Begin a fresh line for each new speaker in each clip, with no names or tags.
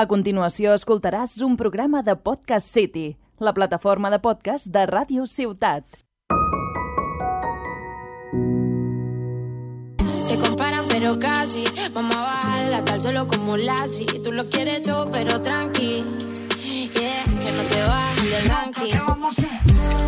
A continuació escoltaràs un programa de Podcast City, la plataforma de podcast de Ràdio Ciutat.
Se comparan pero casi, vamos a bajarla tal solo como Lassie. Tú lo quieres todo pero tranqui, yeah, que no te bajes del ranking.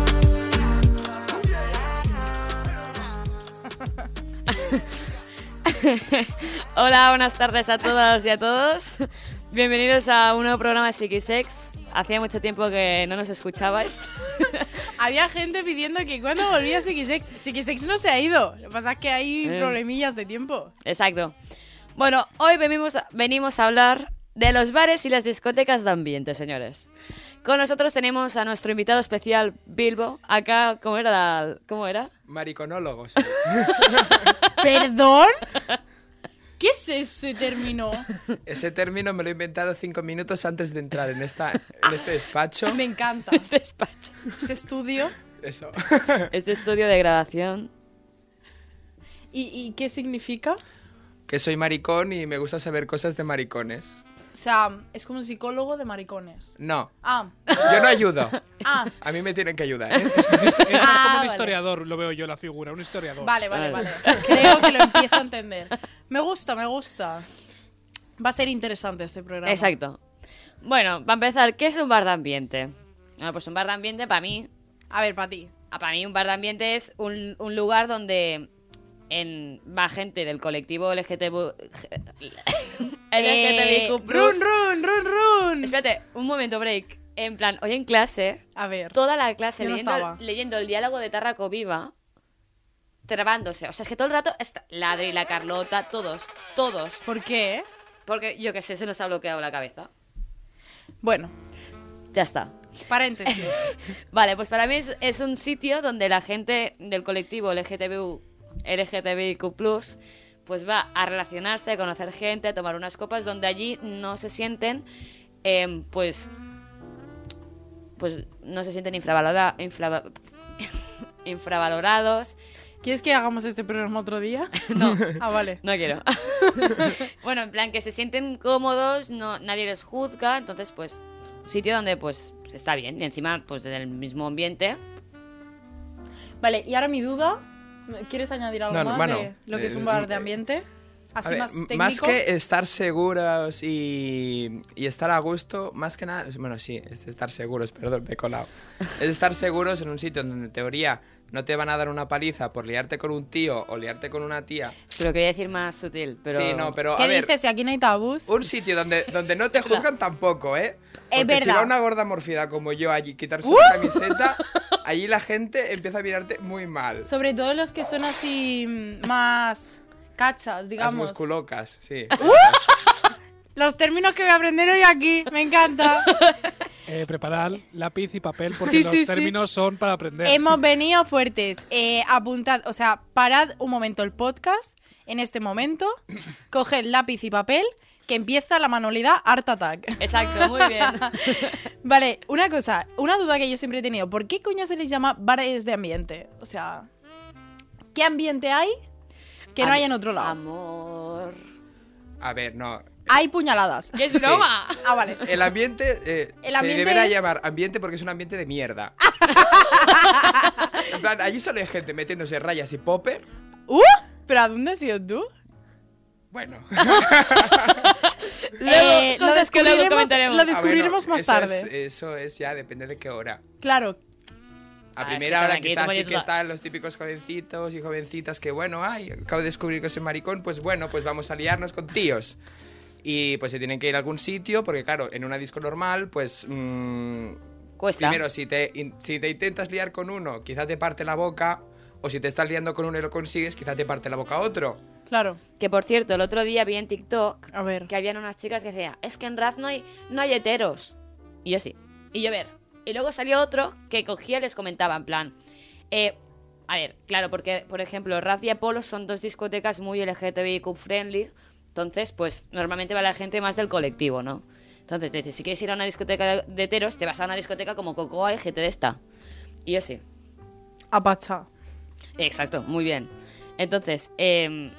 Hola, buenas tardes a todas y a todos. Bienvenidos a un nuevo programa de Psiquisex. Hacía mucho tiempo que no nos escuchabais.
Había gente pidiendo que cuando volvía Psiquisex. Psiquisex no se ha ido. Lo que pasa es que hay
Eh.
problemillas de tiempo.
Exacto. Bueno, hoy venimos a, venimos a hablar de los bares y las discotecas de ambiente, señores. Con nosotros tenemos a nuestro invitado especial, Bilbo. Acá, ¿cómo era? la- ¿Cómo era?
Mariconólogos.
¿Perdón? ¿Qué es ese término?
Ese término me lo he inventado cinco minutos antes de entrar en, esta, en este despacho.
Me encanta.
Este despacho.
Este estudio.
Eso.
Este estudio de grabación.
¿Y, y qué significa?
Que soy maricón y me gusta saber cosas de maricones.
O sea, es como un psicólogo de maricones.
No,
Ah,
yo no ayudo.
ah,
A mí me tienen que ayudar, ¿eh?
Es, es más
Ah,
como
vale.
un historiador, lo veo yo la figura, un historiador.
vale, vale,
Vale.
vale. Creo que lo empiezo a entender. Me gusta, me gusta. Va a ser interesante este programa.
Exacto. Bueno, para empezar, ¿qué es un bar de ambiente? Ah, pues un bar de ambiente para mí
A ver, para ti.
Ah, Para mí un bar de ambiente es un, un lugar donde en, va gente del colectivo LGTB...
Eh,
LGTBIQ+.
run, run, run, run.
Espérate, un momento, break. En plan, hoy en clase,
A ver.
toda la clase
Yo no
leyendo,
estaba.
leyendo el diálogo de Tarraco Viva, trabándose. O sea, es que todo el rato está la Adri, la Carlota, todos, todos.
¿Por qué?
Porque, yo qué sé, se nos ha bloqueado la cabeza.
Bueno,
Ya está.
paréntesis.
Vale, pues para mí es, es un sitio donde la gente del colectivo LGTBU, LGTBIQ+, pues va a relacionarse, a conocer gente, a tomar unas copas, donde allí no se sienten, em, pues, pues no se sienten infravalora- infrava- infravalorados.
¿Quieres que hagamos este programa otro día?
No,
Ah, vale.
no quiero. bueno, en plan que se sienten cómodos, no, nadie les juzga, entonces pues un sitio donde pues está bien y encima pues en el mismo ambiente.
Vale, y ahora mi duda, ¿quieres añadir algo
No, no,
más
bueno,
de lo que es un
eh,
bar de
eh,
ambiente? Así
A ver,
más
m-
técnico.
que estar seguros y, y estar a gusto, más que nada, bueno, sí, es estar seguros, perdón, me he colado. Es estar seguros en un sitio donde en teoría no te van a dar una paliza por liarte con un tío o liarte con una tía.
Pero quería decir más sutil, pero...
Sí, no, pero
¿Qué
a ver,
dices? Si aquí no hay tabús.
un sitio donde, donde no te juzgan tampoco, ¿eh?
Es
Porque si
verdad. ¡Uh!
va una gorda morfida como yo allí, quitarse una camiseta, allí la gente empieza a mirarte muy mal.
Sobre todo los que son así mm, más cachas,
Las
digamos. ¡Uh!
musculocas, sí.
Los términos que voy a aprender hoy aquí, me encanta.
Eh, preparad lápiz y papel porque
Sí,
los
sí, Em, sí.
términos son para aprender.
Hemos venido fuertes. Eh, apuntad, o sea, parad un momento el podcast en este momento, coged lápiz y papel, que empieza la manualidad Art Attack.
Exacto, muy bien.
Vale, una cosa, una duda que yo siempre he tenido. ¿Por qué coño se les llama bares de ambiente? O sea, ¿qué ambiente hay que no
Am-
hay en otro lado?
Amor.
A ver, no.
Hay puñaladas.
¡Que es
Sí.
broma!
Ah, vale.
El ambiente, eh,
El
se
ambiente
deberá
es-
llamar ambiente porque es un ambiente de mierda. en plan, allí solo hay gente metiéndose rayas y popper.
¡Uh! ¿Pero a dónde has ido tú?
Bueno,
Eh, lo
cosas que luego
descubriremos,
comentaremos.
lo
Ah,
descubriremos
Ah,
más
bueno, eso
tarde.
es- eso es ya, depende de qué hora.
Claro.
Ah,
A
es
primera
que
hora
tranquilo,
quizás sí
vaya
que
toda-
están los típicos jovencitos y jovencitas que, bueno, ay, acabo de descubrir que soy maricón, pues bueno, pues vamos a liarnos con tíos. Y pues se tienen que ir a algún sitio, porque claro, en una disco normal, pues... mm,
Cuesta.
primero, si te, in- si te intentas liar con uno, quizás te parte la boca, o si te estás liando con uno y lo consigues, quizás te parte la boca a otro.
Claro.
Que por cierto, el otro día vi en TikTok
A ver.
que habían unas chicas que decían, es que en Raz no hay, no hay heteros. Y yo sí. Y yo ver. Y luego salió otro que cogía y les comentaba, en plan, eh, a ver, claro, porque, por ejemplo, Raz y Apolo son dos discotecas muy LGTBIQ friendly, entonces, pues, normalmente va la gente más del colectivo, ¿no? Entonces, dice, si quieres ir a una discoteca de- de heteros, te vas a una discoteca como Cocoa y GT de esta. Y yo sí.
Apacha.
Exacto, muy bien. Entonces, em,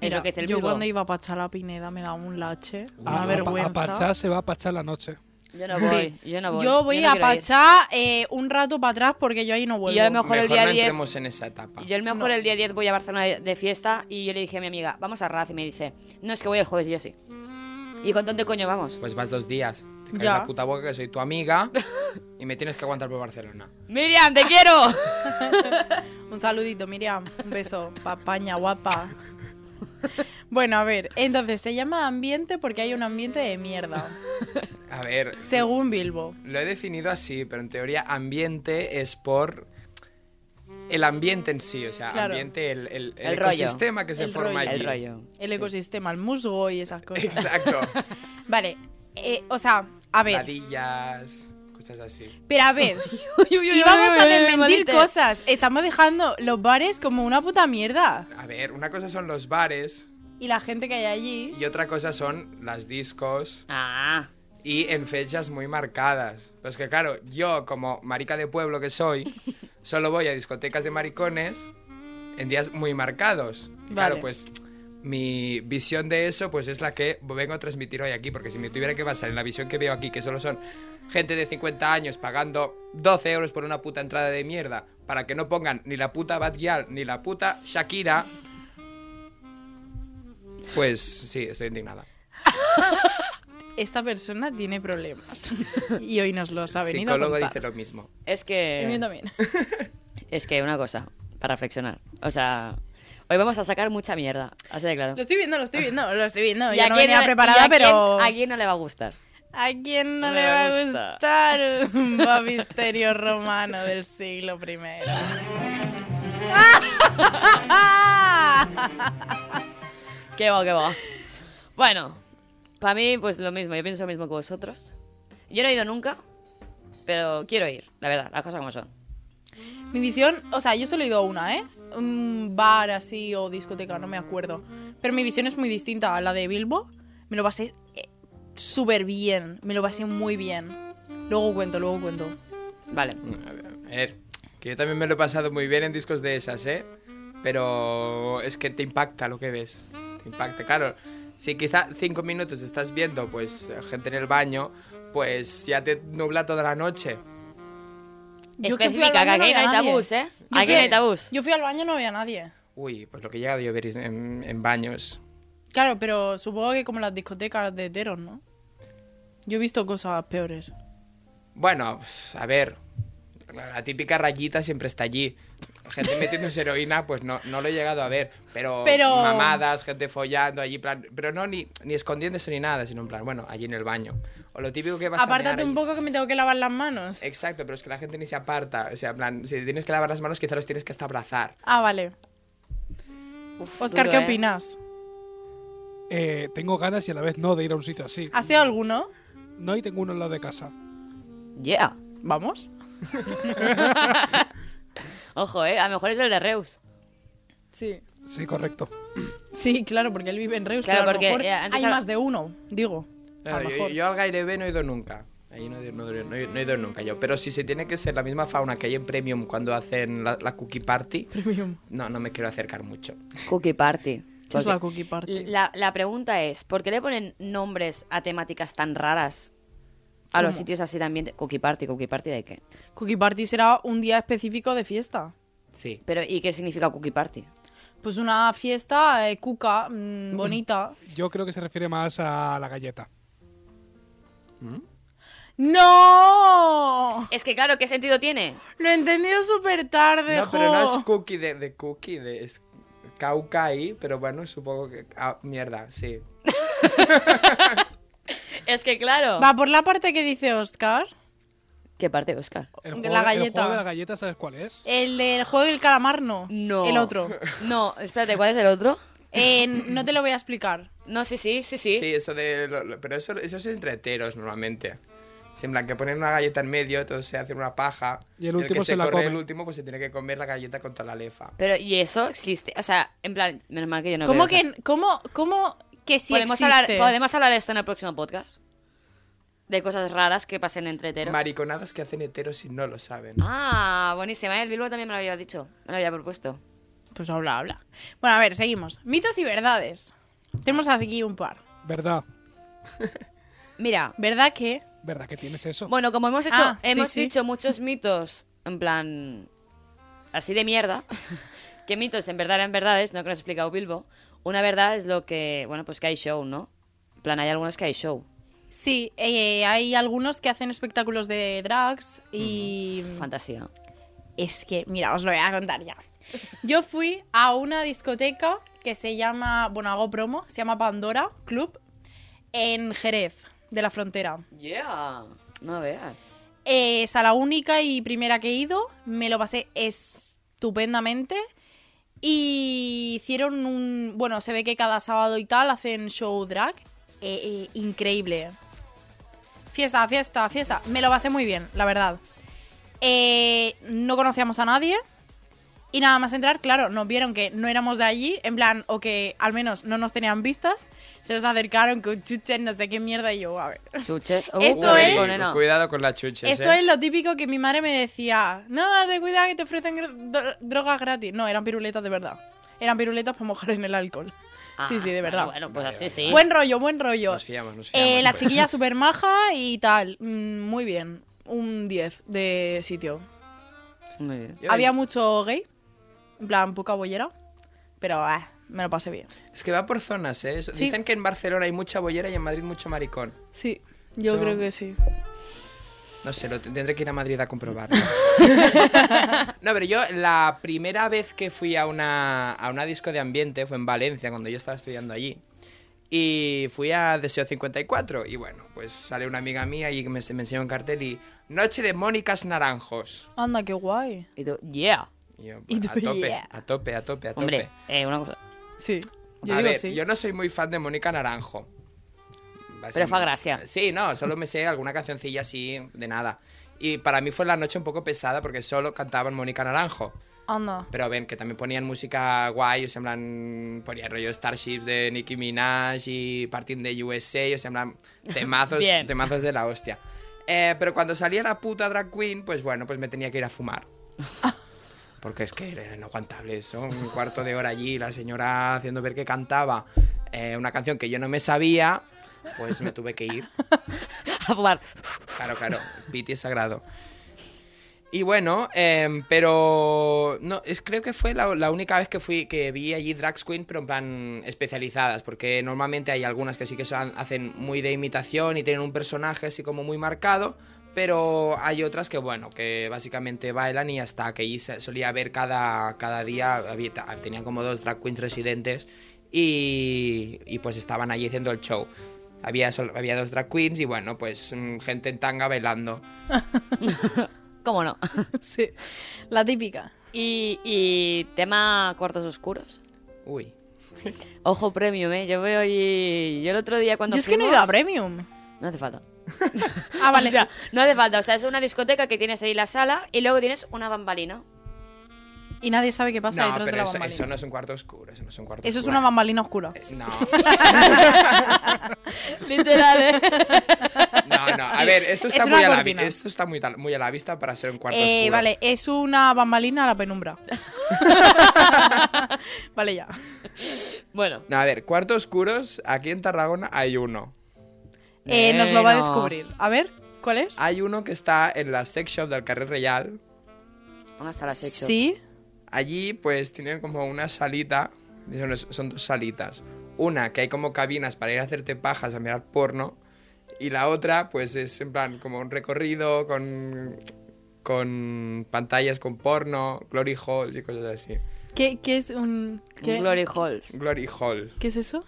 Es
Mira,
lo que dice el
yo
Bilbo.
cuando iba a Pachá la Pineda me daba un lache,
Ah, A-
una
a-
vergüenza.
A Pachá se va a Pachá la noche.
Yo no voy,
Sí.
yo no voy.
Yo voy
no
a
quiero ir.
Pachá eh, un rato para atrás porque yo ahí no vuelvo.
Y yo a lo mejor el día
no
10
entremos en esa etapa.
Yo el mejor el día 10 voy a Barcelona de, de fiesta y yo le dije a mi amiga, vamos a Raz y me dice, no es que voy el jueves y yo sí. ¿Y con dónde coño vamos?
Pues vas dos días. Te caes
Ya.
la puta boca que soy tu amiga y me tienes que aguantar por Barcelona.
Miriam,
Ah,
te quiero.
Un saludito, Miriam. Un beso. Pa' España, guapa. Bueno, a ver, entonces se llama ambiente porque hay un ambiente de mierda,
A ver,
según Bilbo.
lo he definido así, pero en teoría ambiente es por el ambiente en sí, o sea,
Claro.
ambiente, el, el- el
El rollo.
ecosistema que se
El
forma
rollo.
allí.
El rollo.
El ecosistema, el musgo y esas cosas.
Exacto.
Vale, eh, o sea, a ver,
Ladillas, cosas así.
pero a ver, y vamos a desmentir cosas. Estamos dejando los bares como una puta mierda.
A ver, una cosa son los bares
Y la gente que hay allí,
y otra cosa son las discos
Ah,
y en fechas muy marcadas. Pues que claro, yo como marica de pueblo que soy, solo voy a discotecas de maricones en días muy marcados. Y Claro,
Vale.
pues mi visión de eso pues es la que vengo a transmitir hoy aquí, porque si me tuviera que basar en la visión que veo aquí, que solo son gente de 50 años pagando 12 euros por una puta entrada de mierda, para que no pongan ni la puta Bad Gyal ni la puta Shakira, pues sí, estoy indignada.
esta persona tiene problemas. Y hoy nos los ha venido
psicólogo
a contar.
dice "Eh". lo mismo.
es
Y yo
que
también.
es que una cosa para reflexionar. O sea, hoy vamos a sacar mucha mierda, así de claro.
Lo estoy viendo, lo estoy viendo, lo estoy viendo.
Y
Yo
a
no
quién
venía
le- y
preparada,
a quién-
pero...
a quién no le va a gustar.
¿A quién no
No
le
me
va a
gusta.
gustar un babisterio romano del siglo primero?
Qué va, qué va. Bueno, para mí, pues lo mismo. Yo pienso lo mismo que vosotros. Yo no he ido nunca, pero quiero ir, la verdad, las cosas como son.
Mi visión, o sea, yo solo he ido a una, ¿eh? Un bar así o discoteca, no me acuerdo. Pero mi visión es muy distinta a la de Bilbo. Me lo pasé eh, súper bien, me lo pasé muy bien. Luego cuento, luego cuento.
Vale.
A ver, a ver, que yo también me lo he pasado muy bien en discos de esas, ¿eh? Pero es que te impacta lo que ves. Te impacta, claro. Si quizá cinco minutos estás viendo, pues, gente en el baño, pues ya te nubla toda la noche.
Yo que fui al
Específica, que
baño no
aquí no hay
había nadie.
tabús, ¿eh?
Yo
Aquí
fui-
no hay tabús.
Yo fui al baño y no había nadie.
Uy, pues lo que he llegado yo a ver es en, en baños.
Claro, pero supongo que como las discotecas de heteros, ¿no? Yo he visto cosas peores.
Bueno, pues, a ver, la típica rayita siempre está allí. Gente metiéndose heroína, pues no, no lo he llegado a ver. Pero,
Pero-
mamadas, gente follando allí, plan. Pero no ni, ni escondiéndose ni nada, sino en plan, bueno, allí en el baño. O lo típico que vas a Eh.
Apártate
mear
un
allí.
poco que me tengo que lavar las manos.
Exacto, pero es que la gente ni se aparta. O sea, en plan, si tienes que lavar las manos, quizá los tienes que hasta abrazar.
Ah, vale.
Uf,
Oscar,
duro, ¿eh?
¿qué opinas?
Eh, tengo ganas y a la vez no de ir a un sitio así.
¿Has ido a alguno?
No, y tengo uno en lado de casa.
Yeah.
Vamos.
Ojo, ¿eh? A lo mejor es el de Reus.
Sí.
Sí, correcto.
Sí, claro, porque él vive en Reus.
Claro,
pero a lo
porque,
mejor
eh, antes
hay
al-
más de uno, digo. A lo
yo,
mejor.
Eh, yo al Gairebé no he ido nunca. Ahí no, he ido- no he ido- no he no he ido nunca yo. Pero si se tiene que ser la misma fauna que hay en Premium cuando hacen la, la cookie party,
Premium.
no, no me quiero acercar mucho.
Cookie Party.
¿Qué es la cookie party?
La, la pregunta es, ¿por qué le ponen nombres a temáticas tan raras a los
¿Cómo?
sitios así también? ambiente? Cookie Party, Cookie Party de qué?
Cookie party será un día específico de fiesta.
Sí.
Pero, ¿y qué significa Cookie Party?
Pues una fiesta eh, cuca, mm, bonita.
Yo creo que se refiere más a la galleta.
¡No!
Es que claro, ¿qué sentido tiene?
Lo he entendido súper tarde,
No, pero no
jo.
es cookie de, de cookie, de, es cauca ahí, pero bueno, supongo que... ah, mierda, sí.
Es que claro.
Va por la parte que dice Oscar.
¿Qué parte, Oscar?
El
La
juego, el
galleta. Eh.
juego de la galleta, ¿sabes cuál es?
El del juego del calamar, no.
No.
El otro.
No, espérate, ¿cuál es el otro?
Eh, no te lo voy a explicar.
No, sí, sí, sí, sí.
Sí, eso de... lo- lo- pero eso, eso es entre heteros normalmente. Es en plan que ponen una galleta en medio, todos se hacen una paja.
Y el último
que
se la
corre
come.
El último pues se tiene que comer la galleta con toda la lefa.
Pero, ¿y eso existe? O sea, en plan, menos mal que yo no
¿Cómo
veo, o sea,
que, cómo, cómo que si
podemos
existe?
hablar, podemos hablar de esto en el próximo podcast. De cosas raras que pasen entre heteros.
Mariconadas que hacen heteros y no lo saben.
Ah, buenísima, ¿eh? el Bilbo también me lo había dicho, me lo había propuesto.
Pues habla, habla. Bueno, a ver, seguimos. Mitos y verdades. Tenemos aquí un par.
¿Verdad?
Mira,
¿Verdad que?
¿Verdad que tienes eso?
bueno, como hemos hecho,
Ah, sí,
hemos
sí.
dicho muchos mitos, en plan, así de mierda, que mitos en verdad eran verdades, no que nos ha explicado Bilbo. Una verdad es lo que, bueno, pues que hay show, ¿no? En plan, hay algunos que hay show.
Sí, eh, hay algunos que hacen espectáculos de drags y...
Fantasía.
Es que, mira, os lo voy a contar ya. Yo fui a una discoteca que se llama, bueno, hago promo, se llama Pandora Club, en Jerez, de la frontera.
Yeah. No veas.
Eh, Es a la única y primera que he ido, me lo pasé estupendamente. Y hicieron un. Bueno, se ve que cada sábado y tal hacen show drag. Eh, eh, increíble. Fiesta, fiesta, fiesta. Me lo pasé muy bien, la verdad. Eh, no conocíamos a nadie. Y nada más entrar, claro, nos vieron que no éramos de allí, en plan, o que al menos no nos tenían vistas. Se nos acercaron con chuches, no sé qué mierda, y yo, a ver.
Chuches. Uh,
Esto
uh,
es-
rico, nena.
Cuidado con las chuches,
Esto
¿eh?
es lo típico que mi madre me decía. No, te cuidado que te ofrecen gr- dro- drogas gratis. No, eran piruletas de verdad. Eran piruletas para mojar en el alcohol.
Ah,
sí, sí, de
bueno,
verdad.
Bueno, pues así sí.
Buen rollo, buen rollo.
Nos fiamos, nos fiamos.
Eh, la
pues.
chiquilla súper maja y tal. Mm, muy bien. Un 10 de sitio.
Muy bien.
Yo-
Había mucho gay. En plan, poca bollera. Pero ah, me lo pasé bien.
Es que va por zonas, ¿eh? Eso-
Sí.
Dicen que en Barcelona hay mucha bollera y en Madrid mucho maricón.
Sí, yo
Son-
creo que sí.
No sé, lo t- tendré que ir a Madrid a comprobarlo. no, pero yo la primera vez que fui a una, a una disco de ambiente fue en Valencia, cuando yo estaba estudiando allí. Y fui a Deseo 54 y bueno, pues sale una amiga mía y me, me enseñó un cartel y Noche de Mónicas Naranjos.
Anda, qué guay.
Y tú, yeah.
Y yo, pues,
Y tú,
a tope,
"Yeah".
a tope, a tope, a tope.
Hombre, eh, una cosa.
Sí. Yo
a
digo
ver,
sí.
yo no soy muy fan de Mónica Naranjo. Va a
Pero
ser-
fue a gracia.
Sí, no, solo me sé alguna cancioncilla así de nada. Y para mí fue la noche un poco pesada porque solo cantaban Mónica Naranjo.
Anda.
Pero ven, que también ponían música guay, o sea, en plan, ponían rollo Starships de Nicki Minaj y Parting de USA, o sea, en plan, temazos,
Bien.
temazos de la hostia. Eh, pero cuando salía la puta drag queen, pues bueno, pues me tenía que ir a fumar. Porque es que era inaguantable eso, un cuarto de hora allí, la señora haciendo ver que cantaba eh, una canción que yo no me sabía, pues me tuve que ir.
A fumar.
Claro, claro, Piti es sagrado. Y bueno, em, pero no, es, creo que fue la, la única vez que fui que vi allí drag queen, pero en plan especializadas, porque normalmente hay algunas que sí que son- hacen muy de imitación y tienen un personaje así como muy marcado, pero hay otras que bueno, que básicamente bailan y hasta que allí se- solía haber cada, cada día, había- ta- tenían como dos drag queens residentes y, y pues estaban allí haciendo el show. Había, sol- había dos drag queens y bueno, pues mm, gente en tanga bailando.
¿Cómo no?
Sí. La típica.
Y, y tema cuartos oscuros.
Uy.
Ojo premium, eh. Yo veo allí. Yo el otro día cuando.
Yo es que no he ido a
fuimos-
Premium.
No hace falta.
Ah, vale.
O sea, no hace falta. O sea, es una discoteca que tienes ahí la sala y luego tienes una bambalina.
y nadie sabe qué pasa
No,
detrás de
pero
la
eso,
bambalina.
eso no es un cuarto oscuro, eso no es un cuarto
Eso es
oscuro.
una bambalina oscura.
Eh, No,
Literal, eh.
no, no. A ver, eso
Es
está
una
muy a la
cortina.
vista. Esto está muy, tal- muy a la vista para ser un cuarto
Eh,
oscuro.
vale, es una bambalina a la penumbra. vale, ya.
Bueno.
No, a ver, cuartos oscuros, aquí en Tarragona hay uno.
Eh, nos lo va a
Bueno.
descubrir. A ver, ¿cuál es?
Hay uno que está en la sex shop del Carrer Real.
¿Dónde está la hecho?
Sí.
Allí, pues, tienen como una salita. Son, son dos salitas. Una que hay como cabinas para ir a hacerte pajas, a mirar porno. Y la otra, pues, es en plan como un recorrido con, con pantallas con porno, glory hall y cosas así.
¿Qué, qué es un.
Un
Qué,
Glory Halls.
Glory hall.
qué es eso?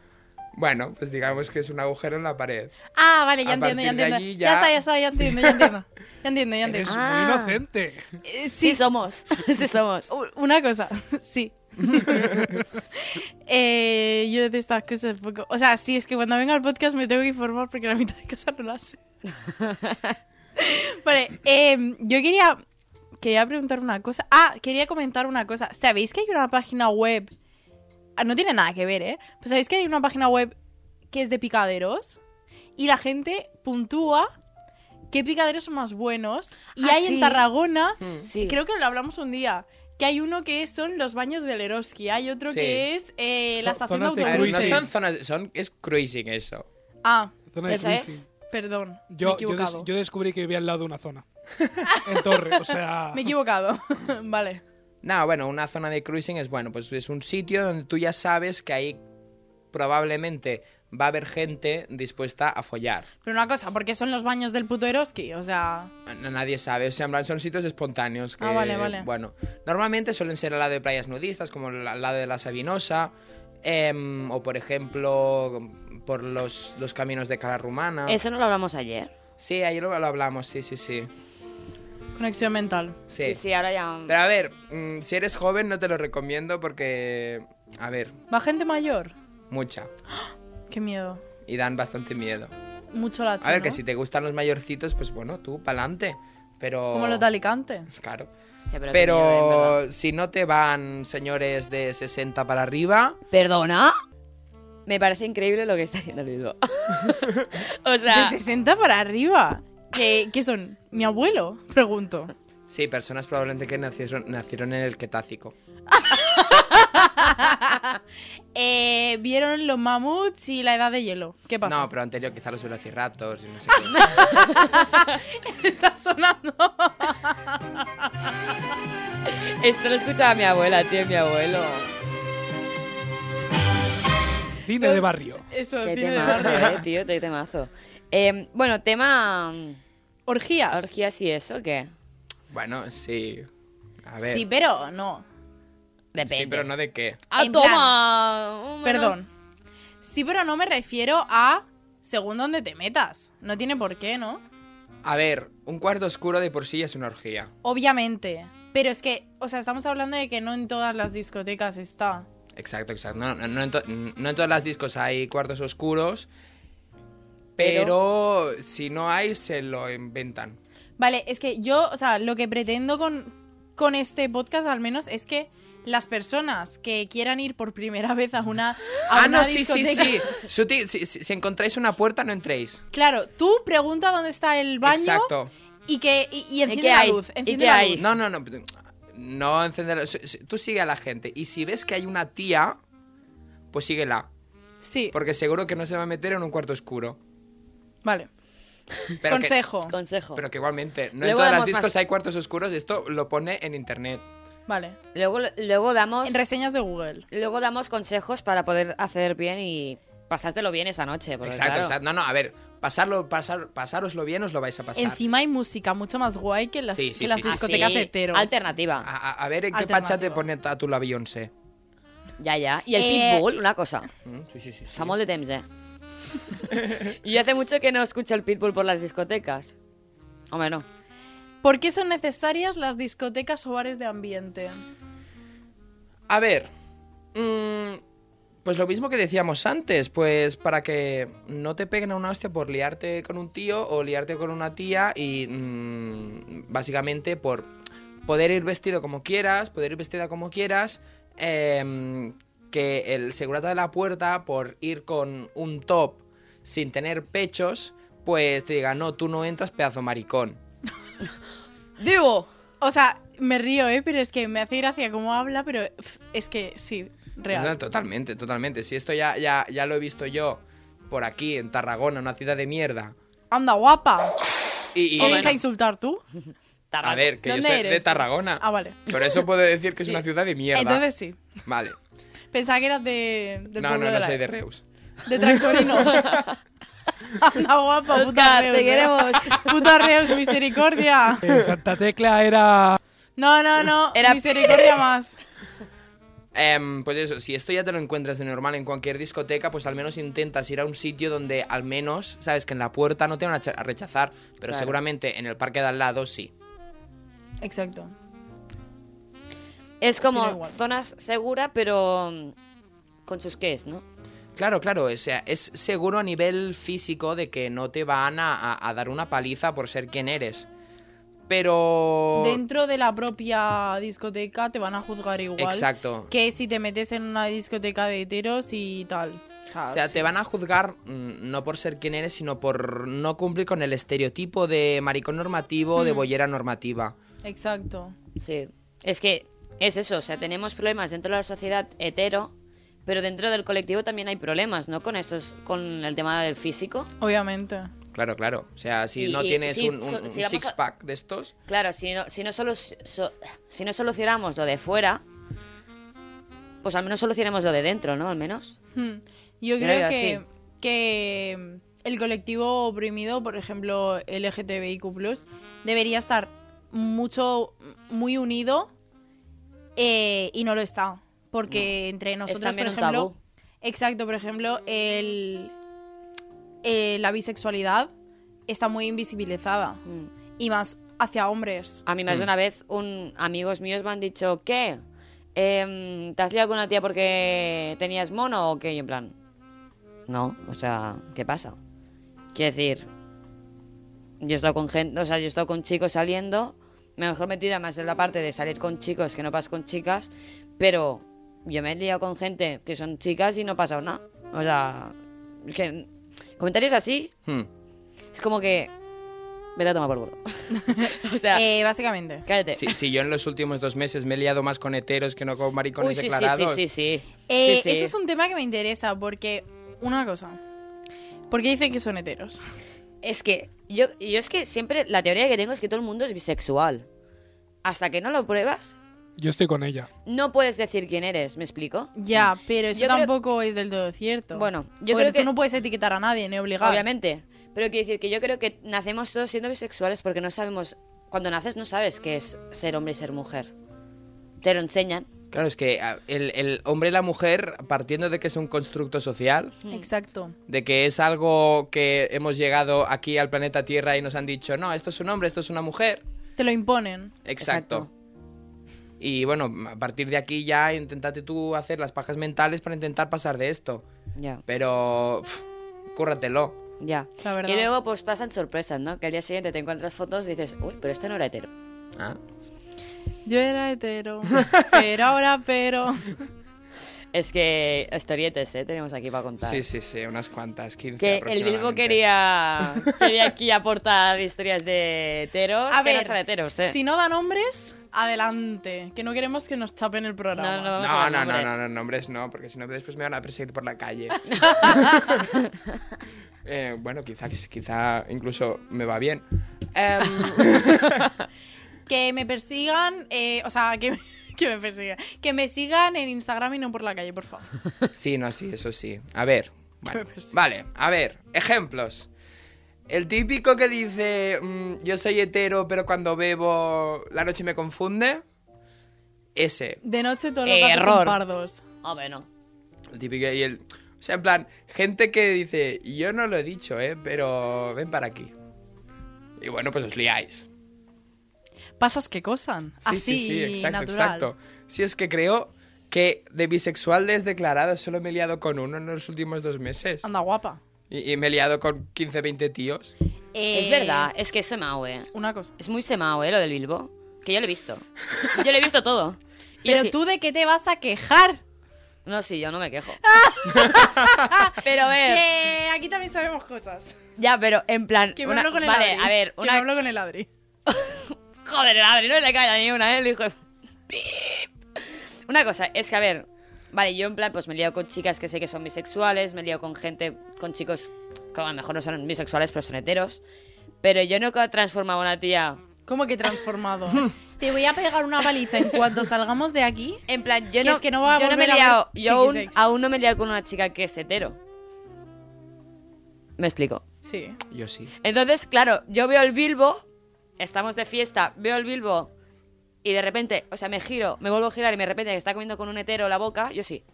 Bueno, pues digamos que es un agujero en la pared.
Ah, vale, ya
A
entiendo, ya
partir de
entiendo.
allí
ya...
ya-
está, ya está, ya entiendo, ya entiendo. Ya entiendo, ya entiendo.
Eres
Ah.
muy inocente.
Eh,
Sí,
sí,
somos. Sí, somos.
u- una cosa, sí. Eh, yo de estas cosas poco. O sea, sí, es que cuando venga al podcast me tengo que informar porque la mitad de cosas no las sé. vale, em, yo quería, quería preguntar una cosa. Ah, quería comentar una cosa. ¿Sabéis que hay una página web? Ah, No tiene nada que ver, ¿eh? Pues sabéis que hay una página web que es de picaderos y la gente puntúa qué picaderos son más buenos. Y
Ah,
hay en
sí.
Tarragona
Sí.
Creo que lo hablamos un día. Que que hay uno que son los baños del Eroski, hay otro
Sí.
que es eh, la
Zo-
estación de
zonas de
A ver,
autobuses.
no
Cruising.
son zonas, son, es cruising eso.
Ah,
Zona de
¿Esa es?
cruising.
perdón, me he
Yo, yo, des-
equivocado.
yo descubrí que vivía al lado de una zona. En torre, o sea.
Me he equivocado, vale.
No, bueno, una zona de cruising es bueno, pues es un sitio donde tú ya sabes que ahí probablemente va a haber gente dispuesta a follar.
Pero una cosa, ¿por qué son los baños del puto Eroski? O sea,
No, nadie sabe, o sea, en plan, son sitios espontáneos. Que,
Ah, vale, vale.
Bueno, normalmente suelen ser al lado de playas nudistas, como el- al lado de la Sabinosa, em, o por ejemplo, por los, los caminos de Cala Rumana.
Eso no lo hablamos ayer.
Sí, ahí lo, lo hablamos, sí, sí, sí.
conexión mental.
Sí,
Sí, sí, ahora ya.
Pero a ver, mm, si eres joven no te lo recomiendo porque, a ver,
¿Va gente mayor?
mucha.
Qué miedo.
Y dan bastante miedo.
Mucho la chica.
A ver, que si te gustan los mayorcitos, pues bueno, tú, pa'lante. Pero...
Como los de Alicante.
Claro.
Hostia, pero. qué miedo, en verdad.
Pero si no te van señores de 60 para arriba,
¿Perdona? Me parece increíble lo que está haciendo Bilbo. o sea.
De 60 para arriba. ¿Qué, qué son? ¿Mi abuelo? Pregunto.
sí, personas probablemente que nacieron, nacieron en el Cretácico.
Eh, ¿Vieron los mamuts y la edad de hielo? ¿Qué pasó?
No, pero anterior quizá los velociraptors y no sé qué.
Está sonando.
Esto lo escuchaba mi abuela, tío, mi abuelo.
Cine de barrio.
Eso,
Qué
tiene de
temazo,
barrio.
eh, tío, qué temazo. Eh, bueno, tema. mm,
Orgías.
¿Orgías y eso qué?
bueno, sí. A ver.
Sí, pero no.
Depende.
Sí, pero no de qué.
¡Ah,
En
toma! Un menú.
Perdón. Sí, pero no me refiero a según donde te metas. No tiene por qué, ¿no?
A ver, un cuarto oscuro de por sí es una orgía.
Obviamente. Pero es que, o sea, estamos hablando de que no en todas las discotecas está.
Exacto, exacto. No, no- no en, to- no en todas las discos hay cuartos oscuros, pero,
Pero-
si no hay, se lo inventan.
Vale, es que yo, o sea, lo que pretendo con, con este podcast al menos es que las personas que quieran ir por primera vez a una, a
Ah,
una
no, sí, sí,
discoteca-
sí. Sutil, si, si- si encontráis una puerta, no entréis.
Claro, tú pregunta dónde está el baño
Exacto.
y que y, y enciende
qué
la
hay?
luz.
¿Y
enciende
qué
la
hay?
luz.
No, no, no. No encender. la- si- si- Tú sigue a la gente. Y si ves que hay una tía, pues síguela.
Sí,
Porque seguro que no se va a meter en un cuarto oscuro.
vale.
Pero
Consejo.
Que,
Consejo.
pero que igualmente, no en
Luego
todas las
damos
discos
más.
hay cuartos oscuros. Esto lo pone en internet.
Vale.
Luego, luego damos.
En reseñas de Google.
Luego damos consejos para poder hacer bien y pasártelo bien esa noche. porque,
exacto,
claro,
exacto. No, no, a ver. Pasarlo, pasar, pasároslo bien, os lo vais a pasar.
Encima hay música mucho más guay que las,
Sí, sí,
que las
sí, sí.
discotecas
así,
heteros.
Alternativa.
A, a- a ver en qué
Alternativa.
pacha te pone a tu la Beyoncé.
Ya, ya. Y el
Eh,
pitbull, una cosa.
Mm, Sí, sí, sí. sí.
Famoso de Temps, eh. y hace mucho que no escucho el pitbull por las discotecas. Hombre, no.
¿Por qué son necesarias las discotecas o bares de ambiente?
A ver. mm, pues lo mismo que decíamos antes, pues para que no te peguen a una hostia por liarte con un tío o liarte con una tía y mm, básicamente por poder ir vestido como quieras, poder ir vestida como quieras, em, que el segurata de la puerta por ir con un top sin tener pechos, pues te diga, no, tú no entras pedazo maricón.
¡Digo!
O sea, me río, ¿eh? Pero es que me hace gracia cómo habla, pero pf, es que sí,
No,
real.
totalmente, totalmente. Si esto ya, ya, ya lo he visto yo por aquí, en Tarragona, una ciudad de mierda.
Anda, guapa.
Y, y-
¿Qué vais a insultar tú?
a ver, que yo
¿Dónde
soy de
eres?
Tarragona.
Ah, vale.
Por eso puedo decir que es
Sí.
una ciudad de mierda.
Entonces sí.
Vale.
Pensaba que eras de, del
no,
pueblo
no,
de
no
la-
soy de Reus.
De Tractorino. Anda, guapa, puta
Oscar,
Reus.
te
¿eh?
queremos.
Puta Reus, misericordia.
Eh, Santa Tecla era.
No, no, no.
Era-
Misericordia más.
Em, pues eso, si esto ya te lo encuentras de normal en cualquier discoteca, pues al menos intentas ir a un sitio donde al menos, sabes, que en la puerta no te van a cha- a rechazar, pero
Claro.
seguramente en el parque de al lado sí.
Exacto.
Es
Tira
como
igual.
zonas segura, pero mm, con sus es, ¿no?
Claro, claro, o sea, es seguro a nivel físico de que no te van a, a- a dar una paliza por ser quien eres. Pero...
Dentro de la propia discoteca te van a juzgar igual.
Exacto.
Que si te metes en una discoteca de heteros y tal. O sea,
O sea,
sí.
te van a juzgar mm, no por ser quien eres, sino por no cumplir con el
Mm.
estereotipo de maricón normativo o de bollera normativa.
Exacto.
Sí. Es que Es eso, o sea, tenemos problemas dentro de la sociedad hetero, pero dentro del colectivo también hay problemas, ¿no? Con estos, con el tema del físico.
Obviamente.
Claro, claro. O sea, si
Y-
no
y-
tienes
sí,
un,
so- si vamos a-
six-pack de estos,
Claro, si no, si no, solu- so- si no solucionamos lo de fuera, pues al menos solucionemos lo de dentro, ¿no? Al menos.
Hmm. Yo
Yo
creo,
lo veo
que,
así.
que mm, el colectivo oprimido, por ejemplo, LGTBIQ, debería estar mucho, mm, muy unido eh, y no lo está. Porque entre nosotros, por
también un
ejemplo.
tabú.
Exacto, por ejemplo, el, eh, la bisexualidad está muy invisibilizada.
Mm.
Y más hacia hombres.
A mí más de una vez un amigos míos me han dicho ¿qué? Em, ¿Te has liado con una tía porque tenías mono o qué? Y en plan, no, o sea, ¿qué pasa? Quiero decir, yo he estado con gente, o sea, yo he estado con chicos saliendo, me mejor me tira más en la parte de salir con chicos que no pasas con chicas, pero yo me he liado con gente que son chicas y no ha pasado nada. O sea, es que comentarios así
hmm,
es como que vete a tomar por culo. o sea,
Eh, básicamente.
cállate.
si, si yo en los últimos dos meses me he liado más con heteros que no con maricones
Uy, sí, sí, sí,
declarados.
sí, sí.
Eh,
Sí, sí.
Eso es un tema que me interesa porque, una cosa, ¿por qué dicen que son heteros?
Es que yo, yo es que siempre la teoría que tengo es que todo el mundo es bisexual. Hasta que no lo pruebas,
Yo estoy con ella.
no puedes decir quién eres, ¿me explico?
Ya, pero eso
Mm. Yo creo-
tampoco es del todo cierto.
Bueno, yo
Porque
creo
tú
que-
no puedes etiquetar a nadie, ni obligar.
Obviamente. Pero quiero decir que yo creo que nacemos todos siendo bisexuales porque no sabemos... Cuando naces no sabes qué es ser hombre y ser mujer. Te lo enseñan.
Claro, es que ah, el, el hombre y la mujer, partiendo de que es un constructo social,
Mm. Exacto.
de que es algo que hemos llegado aquí al planeta Tierra y nos han dicho, no, esto es un hombre, esto es una mujer.
Te lo imponen.
Exacto. Y bueno, a partir de aquí ya intentate tú hacer las pajas mentales para intentar pasar de esto.
Ya,
Pero, pff, cúrratelo.
ya.
La verdad.
Y luego pues pasan sorpresas, ¿no? Que al día siguiente te encuentras fotos y dices, uy, pero este no era hetero.
Ah.
Yo era hetero, pero ahora, pero...
Es que historietes, ¿eh? Tenemos aquí para contar.
Sí, sí, sí, unas cuantas, 15
Que el Bilbo
aproximadamente.
quería, quería aquí aportar historias de heteros,
A
que
ver,
no son heteros, ¿eh?
si no dan hombres, adelante, que no queremos que nos chapen el programa.
No, no, vamos a
No,
ver
no, no,
nombres.
no, no, nombres no, porque si no después me van a perseguir por la calle. Eh, bueno, quizá, quizá incluso me va bien. Em,
Que me persigan, eh, o sea, que, que me persigan. Que me sigan en Instagram y no por la calle, por favor.
sí, no, sí, eso sí. A ver. Vale,
Pero sí.
vale, a ver, ejemplos. El típico que dice, mm, yo soy hetero, pero cuando bebo la noche me confunde. Ese,
De noche todos los
Eh,
gatos
error.
son pardos.
Hombre, no.
el típico y el... O sea, en plan, gente que dice, yo no lo he dicho, ¿eh? Pero ven para aquí. Y bueno, pues os liáis.
Pasas que cosan.
Sí,
Así,
sí, sí, exacto,
natural.
exacto. Si es que creo que de bisexual declarado solo me he liado con uno en los últimos dos meses.
Anda, guapa.
Y, y me he liado con 15, 20 tíos.
Es verdad, es que es semao, ¿eh?
Una cosa.
Es muy semao, ¿eh? Lo del Bilbo. Que yo lo he visto. Yo lo he visto todo. Y
Pero
sí-
tú de qué te vas a quejar.
No, sí, yo no me quejo. pero a ver...
Que aquí también sabemos cosas.
Ya, pero en plan...
Que me
una-
hablo con el
vale,
Adri.
a ver,
Que
una...
me hablo con el Adri.
Joder, el Adri, no le calla ni una, ¿eh? El hijo de- ¡Pip! Una cosa, es que, a ver... Vale, yo en plan, pues me he liado con chicas que sé que son bisexuales, me he liado con gente, con chicos que a lo mejor no son bisexuales, pero son heteros. Pero yo no he transformado a una tía...
¿Cómo que transformado? te voy a pegar una paliza en cuanto salgamos de aquí.
En plan, yo
Que
no,
es que no va a
yo no me he
volver a ver
liado... Yo aún,
psiquisex.
aún no me he liado con una chica que es hetero. ¿Me explico?
Sí.
Yo sí.
Entonces, claro, yo veo el Bilbo, estamos de fiesta, veo el Bilbo y de repente, o sea, me giro, me vuelvo a girar y de repente está comiendo con un hetero la boca, yo sí.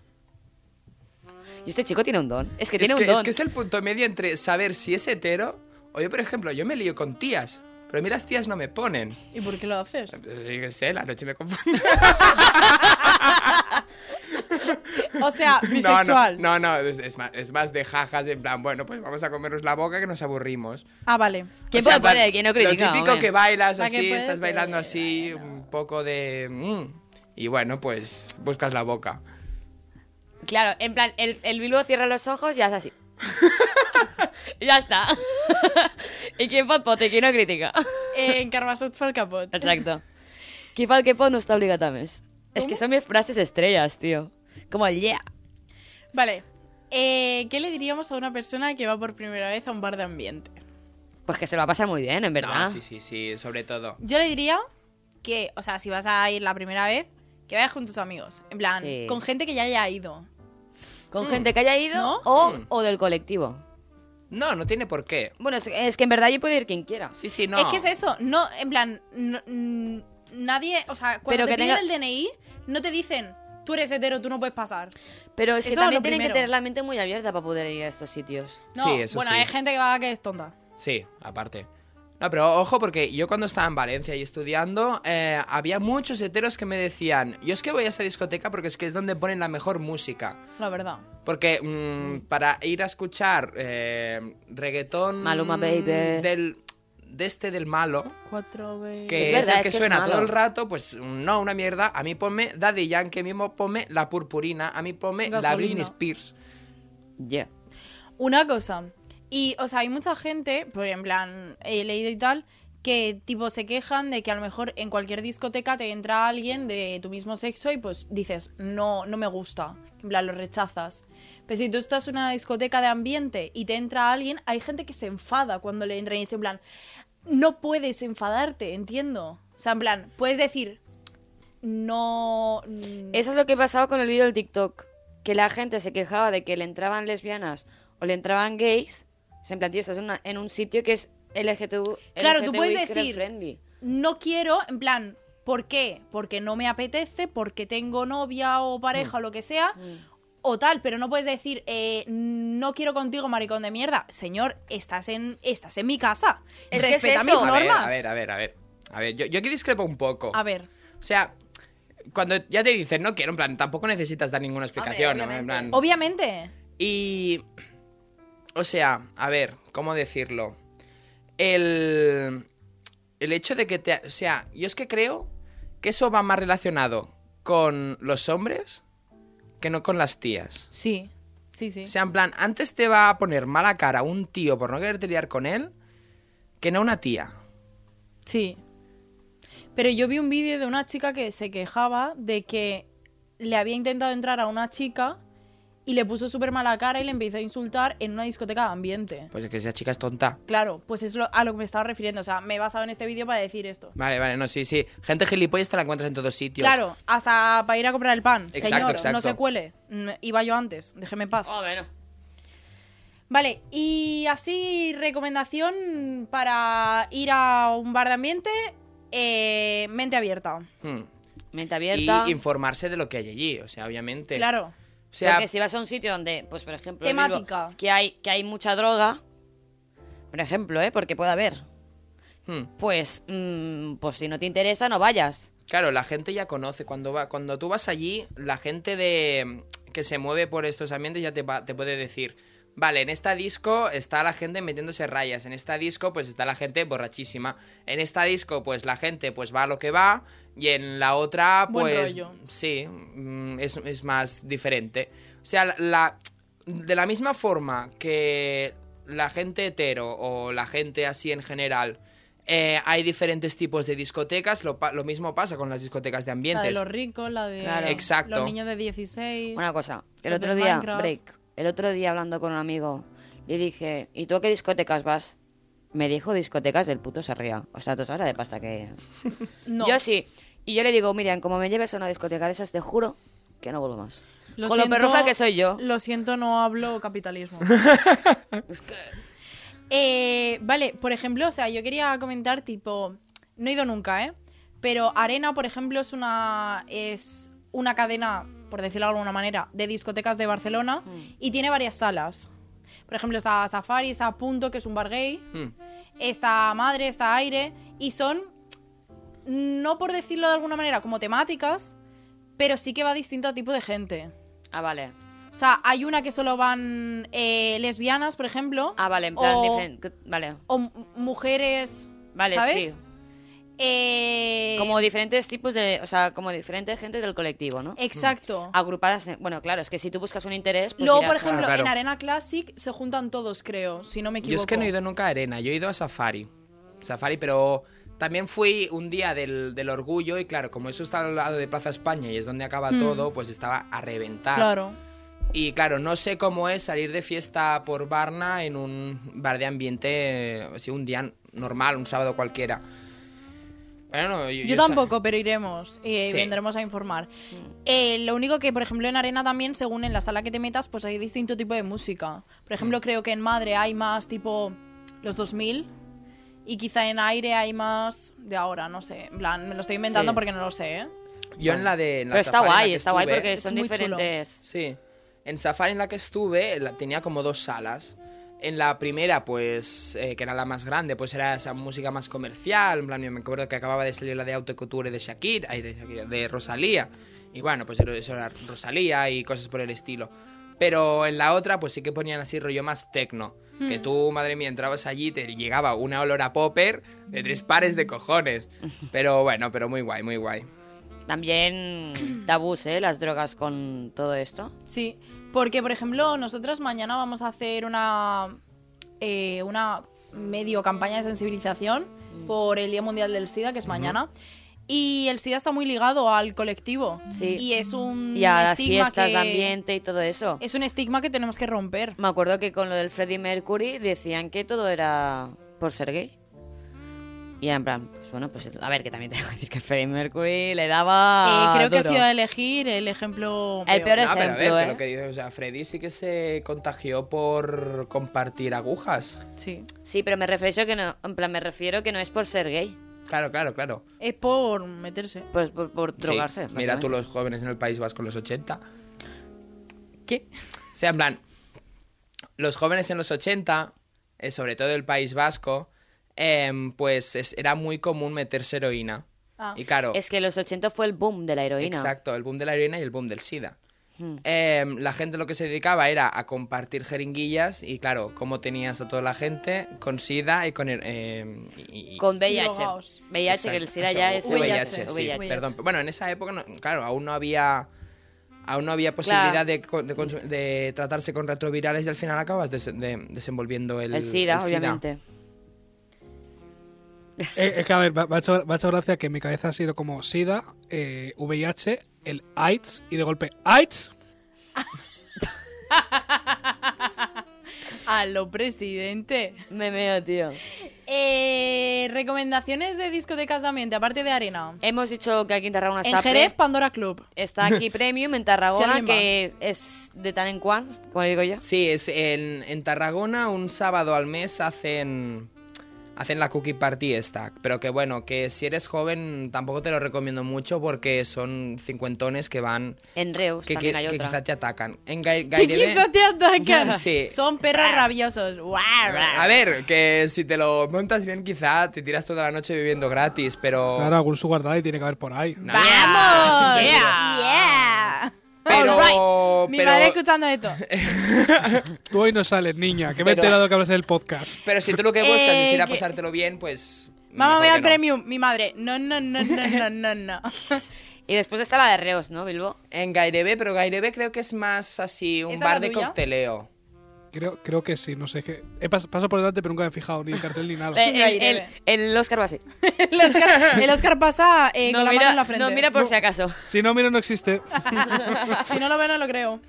Y este chico tiene un don, es que
es,
tiene
que,
un don.
es que es el punto medio entre saber si es hetero o yo, por ejemplo, yo me lío con tías. Pero a mí las tías no me ponen.
¿Y por qué lo haces?
Eh, Yo qué sé, la noche me confunde.
O sea, bisexual.
No, no, no, no, es, es más, es más de jajas, en plan, bueno, pues vamos a comernos la boca que nos aburrimos.
Ah, vale.
¿Quién
O sea,
puede poner?
vale,
¿Quién no critica?
Lo típico
hombre?
que bailas
La que
así,
puede
estás bailando
ser,
así, un poco de... mm, y bueno, pues buscas la boca.
Claro, en plan, el, el Bilbo cierra los ojos y hace así. Y ya está. ¿Y quién pot pot y quién no critica?
Eh, en Carbassot fue el capot.
Exacto. Qui fa el que pot no està obligat a més. Es que son mis frases estrellas, tío. Como el yeah.
Vale. eh, ¿Qué le diríamos a una persona que va por primera vez a un bar de ambiente?
Pues que se lo va a pasar muy bien, en verdad.
No, sí, sí, sí, sobre todo.
Yo le diría que, o sea, si vas a ir la primera vez, que vayas con tus amigos. En plan,
Sí.
con gente que ya haya ido.
Con gente que haya ido
¿No?
o, o del colectivo.
No, no tiene por qué.
Bueno, es, es que en verdad yo puedo ir quien quiera.
Sí, sí, no.
Es que es eso, no, en plan, no- mm, nadie, o sea,
Pero
cuando te
que
piden
tenga-
el DNI, no te dicen, tú eres hetero, tú no puedes pasar.
Pero es que
Eso es
también
lo
tienen
primero.
que tener la mente muy abierta para poder ir a estos sitios.
No,
Sí, eso
bueno,
sí.
hay gente que va que es tonta.
Sí, aparte. No, pero ojo, porque yo cuando estaba en Valencia y estudiando, eh, había muchos heteros que me decían, yo es que voy a esa discoteca porque es que es donde ponen la mejor música.
La verdad.
Porque mm, para ir a escuchar eh, reggaetón...
Maluma, baby.
Del, de este del malo,
Cuatro veces.
que
Es
es,
verdad,
el que,
es que es
suena
malo.
todo el rato, pues no, una mierda. A mí ponme Daddy Yankee, a mí ponme La Purpurina, a mí ponme La
Gasolina.
Britney Spears.
Yeah.
Una cosa. Y, o sea, hay mucha gente, por en plan, he leído y tal, que tipo se quejan de que a lo mejor en cualquier discoteca te entra alguien de tu mismo sexo y pues dices, no, no me gusta. En plan, lo rechazas. Pero si tú estás en una discoteca de ambiente y te entra alguien, hay gente que se enfada cuando le entra y es en plan, no puedes enfadarte, entiendo. O sea, en plan, puedes decir, no... mm,
Eso es lo que pasaba con el vídeo del TikTok. Que la gente se quejaba de que le entraban lesbianas o le entraban gays. Se en plan, tío, estás en, una- en un sitio que es LGTB.
Claro, tú puedes
LGTBIQ
decir-
friendly.
no quiero, en plan, ¿por qué? Porque no me apetece, porque tengo novia o pareja o lo que sea,
Mm.
o tal, pero no puedes decir, eh, no quiero contigo, maricón de mierda. Señor, estás en, estás en mi casa.
Es que es
Respeta mis
eso.
A ver,
normas.
a ver, a ver, a ver. A ver, yo, yo aquí discrepo un poco.
A ver,
O sea, cuando ya te dicen no quiero, en plan, tampoco necesitas dar ninguna explicación, ¿no? en plan.
obviamente.
Y. O sea, a ver, ¿cómo decirlo? El. El hecho de que te. O sea, yo es que creo que eso va más relacionado con los hombres que no con las tías.
Sí, sí, sí.
O sea, en plan, antes te va a poner mala cara un tío por no quererte liar con él que no una tía.
Sí. Pero yo vi un vídeo de una chica que se quejaba de que le había intentado entrar a una chica y le puso súper mala cara y le empezó a insultar en una discoteca de ambiente.
Pues es que esa chica es tonta.
Claro, pues es lo- a lo que me estaba refiriendo. O sea, me he basado en este vídeo para decir esto.
Vale, vale, no, sí, sí. Gente gilipollas te la encuentras en todos sitios.
Claro, hasta para ir a comprar el pan.
Exacto,
Señor, no
exacto.
se cuele. Mm, Iba yo antes, déjeme en paz.
Oh, bueno.
Vale, y así recomendación para ir a un bar de ambiente, eh, mente abierta.
Hmm.
Mente
Y
abierta.
informarse de lo que hay allí, o sea, obviamente.
Claro.
O sea,
Porque si vas a un sitio donde, pues por ejemplo, en
Temática.
Bilbao, que hay que hay mucha droga, por ejemplo, ¿eh? porque puede haber.
hmm.
Pues, mm, pues si no te interesa, no vayas.
Claro, la gente ya conoce. Cuando, va, cuando tú vas allí, la gente de que se mueve por estos ambientes ya te, va- te puede decir, vale, en esta disco está la gente metiéndose rayas, en esta disco pues está la gente borrachísima, en esta disco pues la gente pues va a lo que va y en la otra
Buen
pues
rollo.
sí, mm, es, es más diferente. O sea, la- la, de la misma forma que la gente hetero o la gente así en general... eh, hay diferentes tipos de discotecas, lo, pa- lo mismo pasa con las discotecas de
La
ambientes.
de los ricos, la de
Claro.
Exacto.
los niños de 16.
Una cosa, el
Los
otro
del
día,
Minecraft.
break, el otro día hablando con un amigo, le dije, ¿y tú a qué discotecas vas? Me dijo discotecas del puto Sarriá. O sea, tú sabes la de pasta que...
No.
Yo sí. Y yo le digo, Miriam, como me lleves a una discoteca de esas, te juro que no vuelvo más.
Lo
con
siento-
lo perrufla que soy yo.
Lo siento, no hablo capitalismo.
Es que-
Eh, vale, por ejemplo, o sea, yo quería comentar, tipo, no he ido nunca, ¿eh? Pero Arena, por ejemplo, es una, es una cadena, por decirlo de alguna manera, de discotecas de Barcelona
Mm.
y tiene varias salas. Por ejemplo, está Safari, está Punto, que es un bar gay,
Hmm.
está Madre, está Aire, y son, no por decirlo de alguna manera, como temáticas, pero sí que va distinto tipo de gente.
Ah, vale.
O sea, hay una que solo van eh, lesbianas, por ejemplo.
Ah, vale, en plan,
o-
diferente. Vale,
o m- mujeres.
vale,
¿sabes?
sí.
Eh,
Como diferentes tipos de... O sea, como diferentes gente del colectivo, ¿no?
exacto.
Agrupadas en- Bueno, claro, es que si tú buscas un interés... Ah, Pues
Luego,
irás
por
a-
ejemplo,
Claro, claro.
en Arena Classic se juntan todos, creo, si no me equivoco.
Yo es que no he ido nunca a Arena, yo he ido a Safari. Safari, pero También fui un día del, del orgullo y claro, como eso está al lado de Plaza España y es donde acaba todo, pues estaba a reventar.
Mm. Claro.
Y claro, no sé cómo es salir de fiesta por Barna en un bar de ambiente, eh, así un día normal, un sábado cualquiera. Bueno, yo,
Yo
sa-
tampoco, pero iremos eh, y
Sí.
vendremos a informar. Eh, lo único que, por ejemplo, en Arena también, según en la sala que te metas, pues hay distinto tipo de música. Por ejemplo, creo que en Madre hay más tipo los 2000 y quizá en Aire hay más de ahora, no sé. En plan, me lo estoy inventando
Sí.
porque no lo sé, ¿eh?
Yo en la de... en la
Pero está
safari en la
guay,
que
está guay
estuve-
porque
Es
son
muy chulo.
diferentes.
Sí. En Safari en la que estuve eh, la- tenía como dos salas. En la primera, pues, eh, que era la más grande, pues era esa música más comercial. En plan, yo me acuerdo que acababa de salir la de Autocouture de Shakira, ay, de, Shakira, de Rosalía. Y bueno, pues era- eso era Rosalía y cosas por el estilo. Pero en la otra, pues sí que ponían así rollo más tecno. Que tú, madre mía, entrabas allí y te llegaba una olor a popper de tres pares de cojones. Pero bueno, pero muy guay, muy guay.
También tabús, ¿eh? Las drogas con todo esto.
Sí, porque por ejemplo, nosotras mañana vamos a hacer una, eh, una medio campaña de sensibilización
Mm.
por el Día Mundial del SIDA, que es mañana. Y el SIDA está muy ligado al colectivo.
Sí.
Y es un
Y a las
Mm, estigma
fiestas
que.
de ambiente y todo eso.
Es un estigma que tenemos que romper.
Me acuerdo que con lo del Freddie Mercury decían que todo era por ser gay. Y era en plan, pues bueno, pues a ver, que también tengo que decir que Freddie Mercury le daba.
Eh, creo que ha
Ah, duro.
sido elegir el ejemplo.
El peor
No, pero a ver,
ejemplo,
pero
¿eh?
que dices, o sea, Freddy sí que se contagió por compartir agujas.
Sí.
Sí, pero me refiero que no, en plan, me refiero que no es por ser gay,
Claro, claro, claro.
Es por meterse.
pues por, por
Sí,
drogarse.
Mira tú
básicamente.
los jóvenes en el País Vasco en los 80.
¿Qué?
O sea, en plan, los jóvenes en los 80, eh, sobre todo el País Vasco, em, pues es- era muy común meterse heroína.
Ah.
Y claro,
Es que los 80 fue el boom de la heroína. Hmm.
Exacto, el boom de la heroína y el boom del SIDA. Em, la gente lo que se dedicaba era a compartir jeringuillas y claro, cómo tenías a toda la gente con SIDA y con... her- em, y- y-
Con VIH.
Drogaos.
VIH, que el
Exacto,
SIDA
eso,
ya es.
VIH, sí,
VIH.
perdón. Bueno, en esa época, no- claro, aún no había... Aún no había posibilidad
Claro.
de, co- de consum- de tratarse con retrovirales y al final acabas des- de- desenvolviendo el,
El SIDA, obviamente.
Eh, es que, a ver, me ha- me ha hecho me ha hecho gracia que en mi cabeza ha sido como SIDA, eh, VIH, el AIDS, y de golpe, AIDS.
A lo presidente.
Me meo, tío.
Eh, recomendaciones de discotecas de ambiente, aparte de arena.
Hemos dicho que aquí en Tarragona
En
está.
Jerez,
Pre-
Pandora Club.
Está aquí Premium en Tarragona,
alguien va.
que es, es de tan en cuan, como digo yo.
Sí, es en, en Tarragona un sábado al mes hacen hacen la cookie party esta, pero que bueno, que si eres joven tampoco te lo recomiendo mucho porque son cincuentones que van
En Reus
que,
Pues también
que-
hay
que
otra.
quizá te atacan. En Gai-
Que
Gairebe-
quizá te atacan.
Sí. Ah.
Son perros rabiosos. Guau, guau.
A ver, que si te lo montas bien quizá te tiras toda la noche viviendo gratis, pero
Claro, algún sugar daddy tiene que haber por ahí.
Oh. Nah,
¡Vamos!
sí,
¡Yeah! All
Pero-
right. Mi
pero-
madre escuchando esto.
Tú hoy no sales, niña, que me he
Pero-
enterado que hablas del podcast.
pero si tú lo que buscas
Eh,
es ir a
que-
pasártelo bien, pues
Mamá,
mejor
voy
que
al
no.
premium. Mi madre. No, no, no, no, no, no, no.
Y después está la de Reus, ¿no, Bilbo?
En Gairebe, pero Gairebe creo que es más así un
¿Esa
bar
la
de
tuya?
cocteleo.
Creo, creo que sí, no sé, es que he pas- paso por delante pero nunca me he fijado ni el cartel ni nada.
Eh, el,
Gairebe.
el- el Oscar va así.
El Oscar, el Oscar pasa eh,
no,
con la mano en la
mira,
frente.
no mira por si acaso.
Si no, mira, no existe.
Si no lo veo, no lo creo.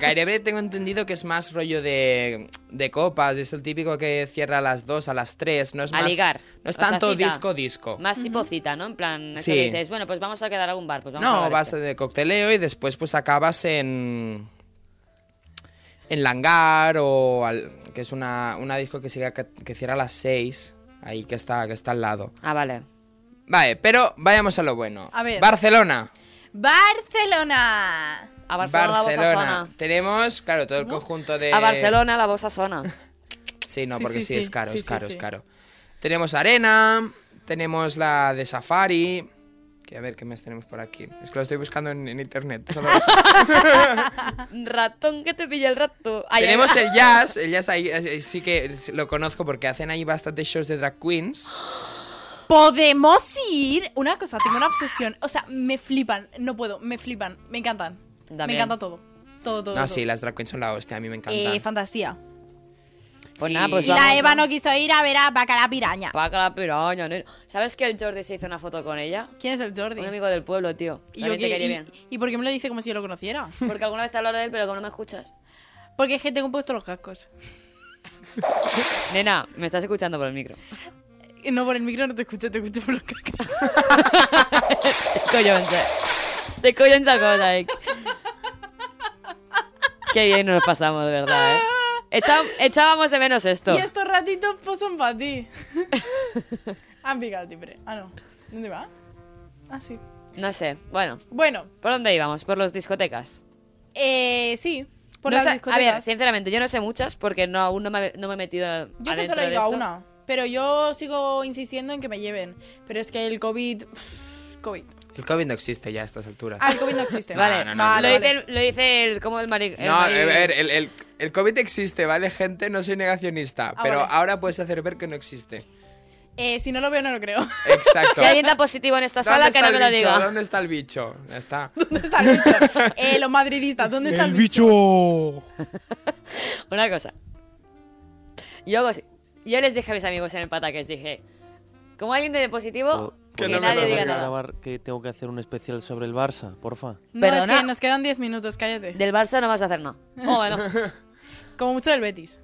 Gairebe Ah, tengo entendido que es más rollo de, de copas, es el típico que cierra a las 2, a las 3, no es
A
más...
ligar.
No es
O sea,
tanto
cita.
disco-disco.
Más tipo cita, ¿no? En plan, eso
Sí.
que dices, bueno, pues vamos a quedar a algún bar. Pues vamos a
No,
ver
vas
esto.
este.
de cocteleo y después pues acabas en... En Langar o... al- que es una, una disco que, sigue, que, que cierra a las 6, ahí que está, que está al lado.
Ah, vale.
Vale, pero vayamos a lo bueno.
A ver.
Barcelona.
Barcelona.
A Barcelona, la bossa
Barcelona. Eh.
sona.
Tenemos, claro, todo el conjunto de...
A Barcelona la bossa sona.
Sí, no,
Sí,
porque
sí,
sí,
sí.
es caro,
Sí,
es
sí,
caro,
sí.
es caro. Tenemos arena, tenemos la de safari. Que a ver qué más tenemos por aquí. Es que lo estoy buscando en, en internet. Solo-
Ratón que te pilla el rato. Ay, ay,
tenemos
ay.
el jazz, el jazz ahí eh, sí que lo conozco porque hacen ahí bastantes shows de drag queens.
Podemos ir. Una cosa, tengo una obsesión. O sea, me flipan. No puedo, me flipan. Me encantan. Me
También.
encanta todo. Eh, Todo, todo.
No,
todo.
Eh,
sí, las drag queens son la hostia, a mí me encantan.
Eh, fantasía.
Pues nada,
Y-
pues
Y
Y la
vamos,
Eva
vamos.
no quiso ir a ver a Bacala Piraña.
Paca la piraña, nene. ¿Sabes que el Jordi se hizo una foto con ella?
¿Quién es el Jordi?
Un amigo del pueblo, tío.
Y
También
yo,
te
¿qué-
quería
y-
bien.
¿Y por qué me lo dice como si yo lo conociera?
Porque alguna vez te hablo de él, pero como no me escuchas.
Porque es que tengo puesto los cascos.
Nena, me estás escuchando por el micro.
No, por el micro no te escucho, te escucho por los cascos.
Collonza. De collonza cosa, eh. Qué bien nos pasamos, de verdad, eh. Echa- echábamos de menos esto.
Y estos ratitos pues, son para ti. Han picado el timbre. Ah, no. ¿Dónde va? Ah, sí.
No sé, bueno.
Bueno,
¿Por dónde íbamos? Por las discotecas.
eh, sí. Por
No
las
sé- a
discotecas.
ver, sinceramente, yo no sé muchas porque no, aún no me, no me he metido
Yo que
adentro
solo
de
he ido a
esto.
una. Pero yo sigo insistiendo en que me lleven. Pero es que el COVID. COVID.
El COVID no existe ya a estas alturas.
Ah, el COVID no existe.
No,
vale,
no, no,
lo,
vale. vale.
Dice el, lo dice el... ¿Cómo el mari- el
no, a
mari-
ver, el, el- el COVID existe, ¿vale, gente? No soy
Ah,
negacionista, pero
vale.
ahora puedes hacer ver que no existe.
Eh, si no lo veo, no lo creo.
Exacto.
Si alguien da positivo en esta sala, que no
está
me
el
lo
bicho?
diga.
¿Dónde está el bicho? Ya está.
¿Dónde está el bicho? Eh, los madridistas, ¿dónde está
¡El bicho!
Una cosa. Yo, hago así. yo les dije a mis amigos en el pataques, dije, como alguien de positivo, que,
Que no me
nadie
lo
diga
diga.
nada.
grabar que tengo que hacer un especial sobre el Barça, porfa.
No,
Perdona.
es que nos quedan 10 minutos, cállate.
Del Barça no vas a hacer nada. Oh, bueno.
Como mucho del Betis.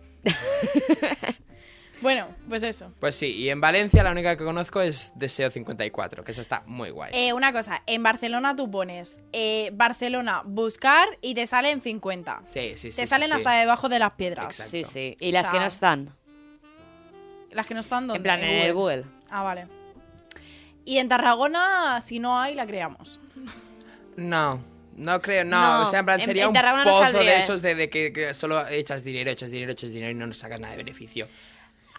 bueno, pues eso.
Pues sí, y en Valencia la única que conozco es Deseo 54, que esa está muy guay.
Eh, una cosa, en Barcelona tú pones eh, Barcelona buscar y te salen 50.
sí, sí, sí.
te
sí,
salen
sí.
hasta debajo de las piedras.
Exacto.
Sí, sí. Y las
O sea,
que no están.
Las que no están donde.
En plan, en
eh,
el Google.
Ah, vale. Y en Tarragona, si no hay, la creamos.
No, no creo, no.
No,
o sea, en plan,
en-
sería
en
un
Tarragona no
pozo
saldría,
de
¿eh?
esos de, de que, que solo echas dinero, echas dinero, echas dinero y no nos sacas nada de beneficio.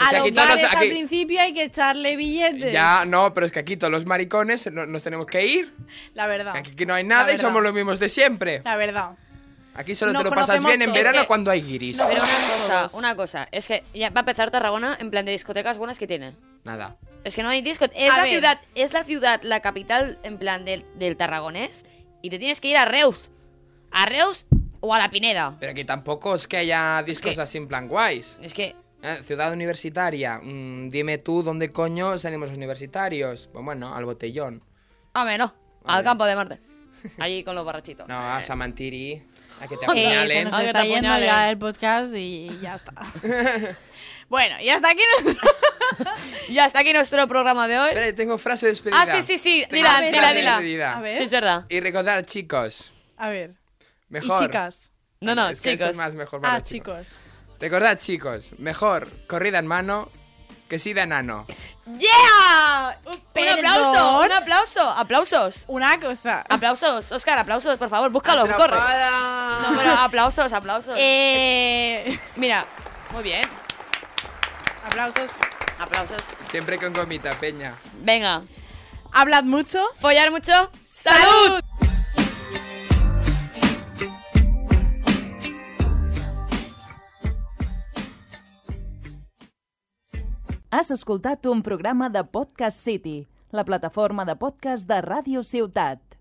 O
A
sea,
los
aquí todos los-
bares al
aquí-
principio hay que echarle billetes.
Ya, no, pero es que aquí todos los maricones no- nos tenemos que ir.
La verdad.
Aquí que no hay
La
nada y
verdad.
somos los mismos de siempre.
La verdad.
Aquí solo
Nos
te lo pasas
conocemos
bien en
todos.
verano
Es que-
cuando hay guiris.
No,
Pero una
todos.
cosa, una cosa. Es que ya va a empezar Tarragona en plan de discotecas buenas que tiene.
Nada.
Es que no hay disco. Es
A
la
ver.
ciudad, es la ciudad, la capital en plan del, del tarragonés. Y te tienes que ir a Reus. A Reus o a la Pineda.
Pero aquí tampoco es que haya discos
que-
así en plan guays.
Es que
Eh, ciudad universitaria, mm, dime tú dónde coño salimos los universitarios. Pues bueno, al botellón.
Hombre, no. Al campo de Marte. Allí con los borrachitos.
No, a Samantiri, a que
Eh, se
te apuñalen.
nos
Ah, que
está
te
yendo
apuñalen.
ya el podcast y ya está. bueno, y hasta aquí nuestro...
Y hasta aquí nuestro programa de hoy.
Espera, tengo frase de despedida.
Ah, sí, sí, sí.
Tengo
Dila,
frase
dila,
de
dila.
despedida.
A ver.
Sí, es verdad.
Y recordar, chicos,
A ver.
mejor.
Y chicas.
No, no,
Es que eso
chicos.
es más mejor para
Ah,
los chicos.
chicos.
Recordad, chicos, mejor corrida en mano que sida en ano.
¡Yeah! Un
Perdón.
aplauso, un aplauso. Aplausos.
Una cosa.
Aplausos, Oscar, aplausos, por favor, búscalo, corre.
Atrapada.
No, pero aplausos, aplausos.
Eh...
Mira, muy bien.
Aplausos.
Aplausos.
Siempre con gomita, peña.
Venga,
Hablad mucho.
follar mucho.
¡Salud!
Has escoltat un programa de Podcast City, la plataforma de podcast de Ràdio Ciutat.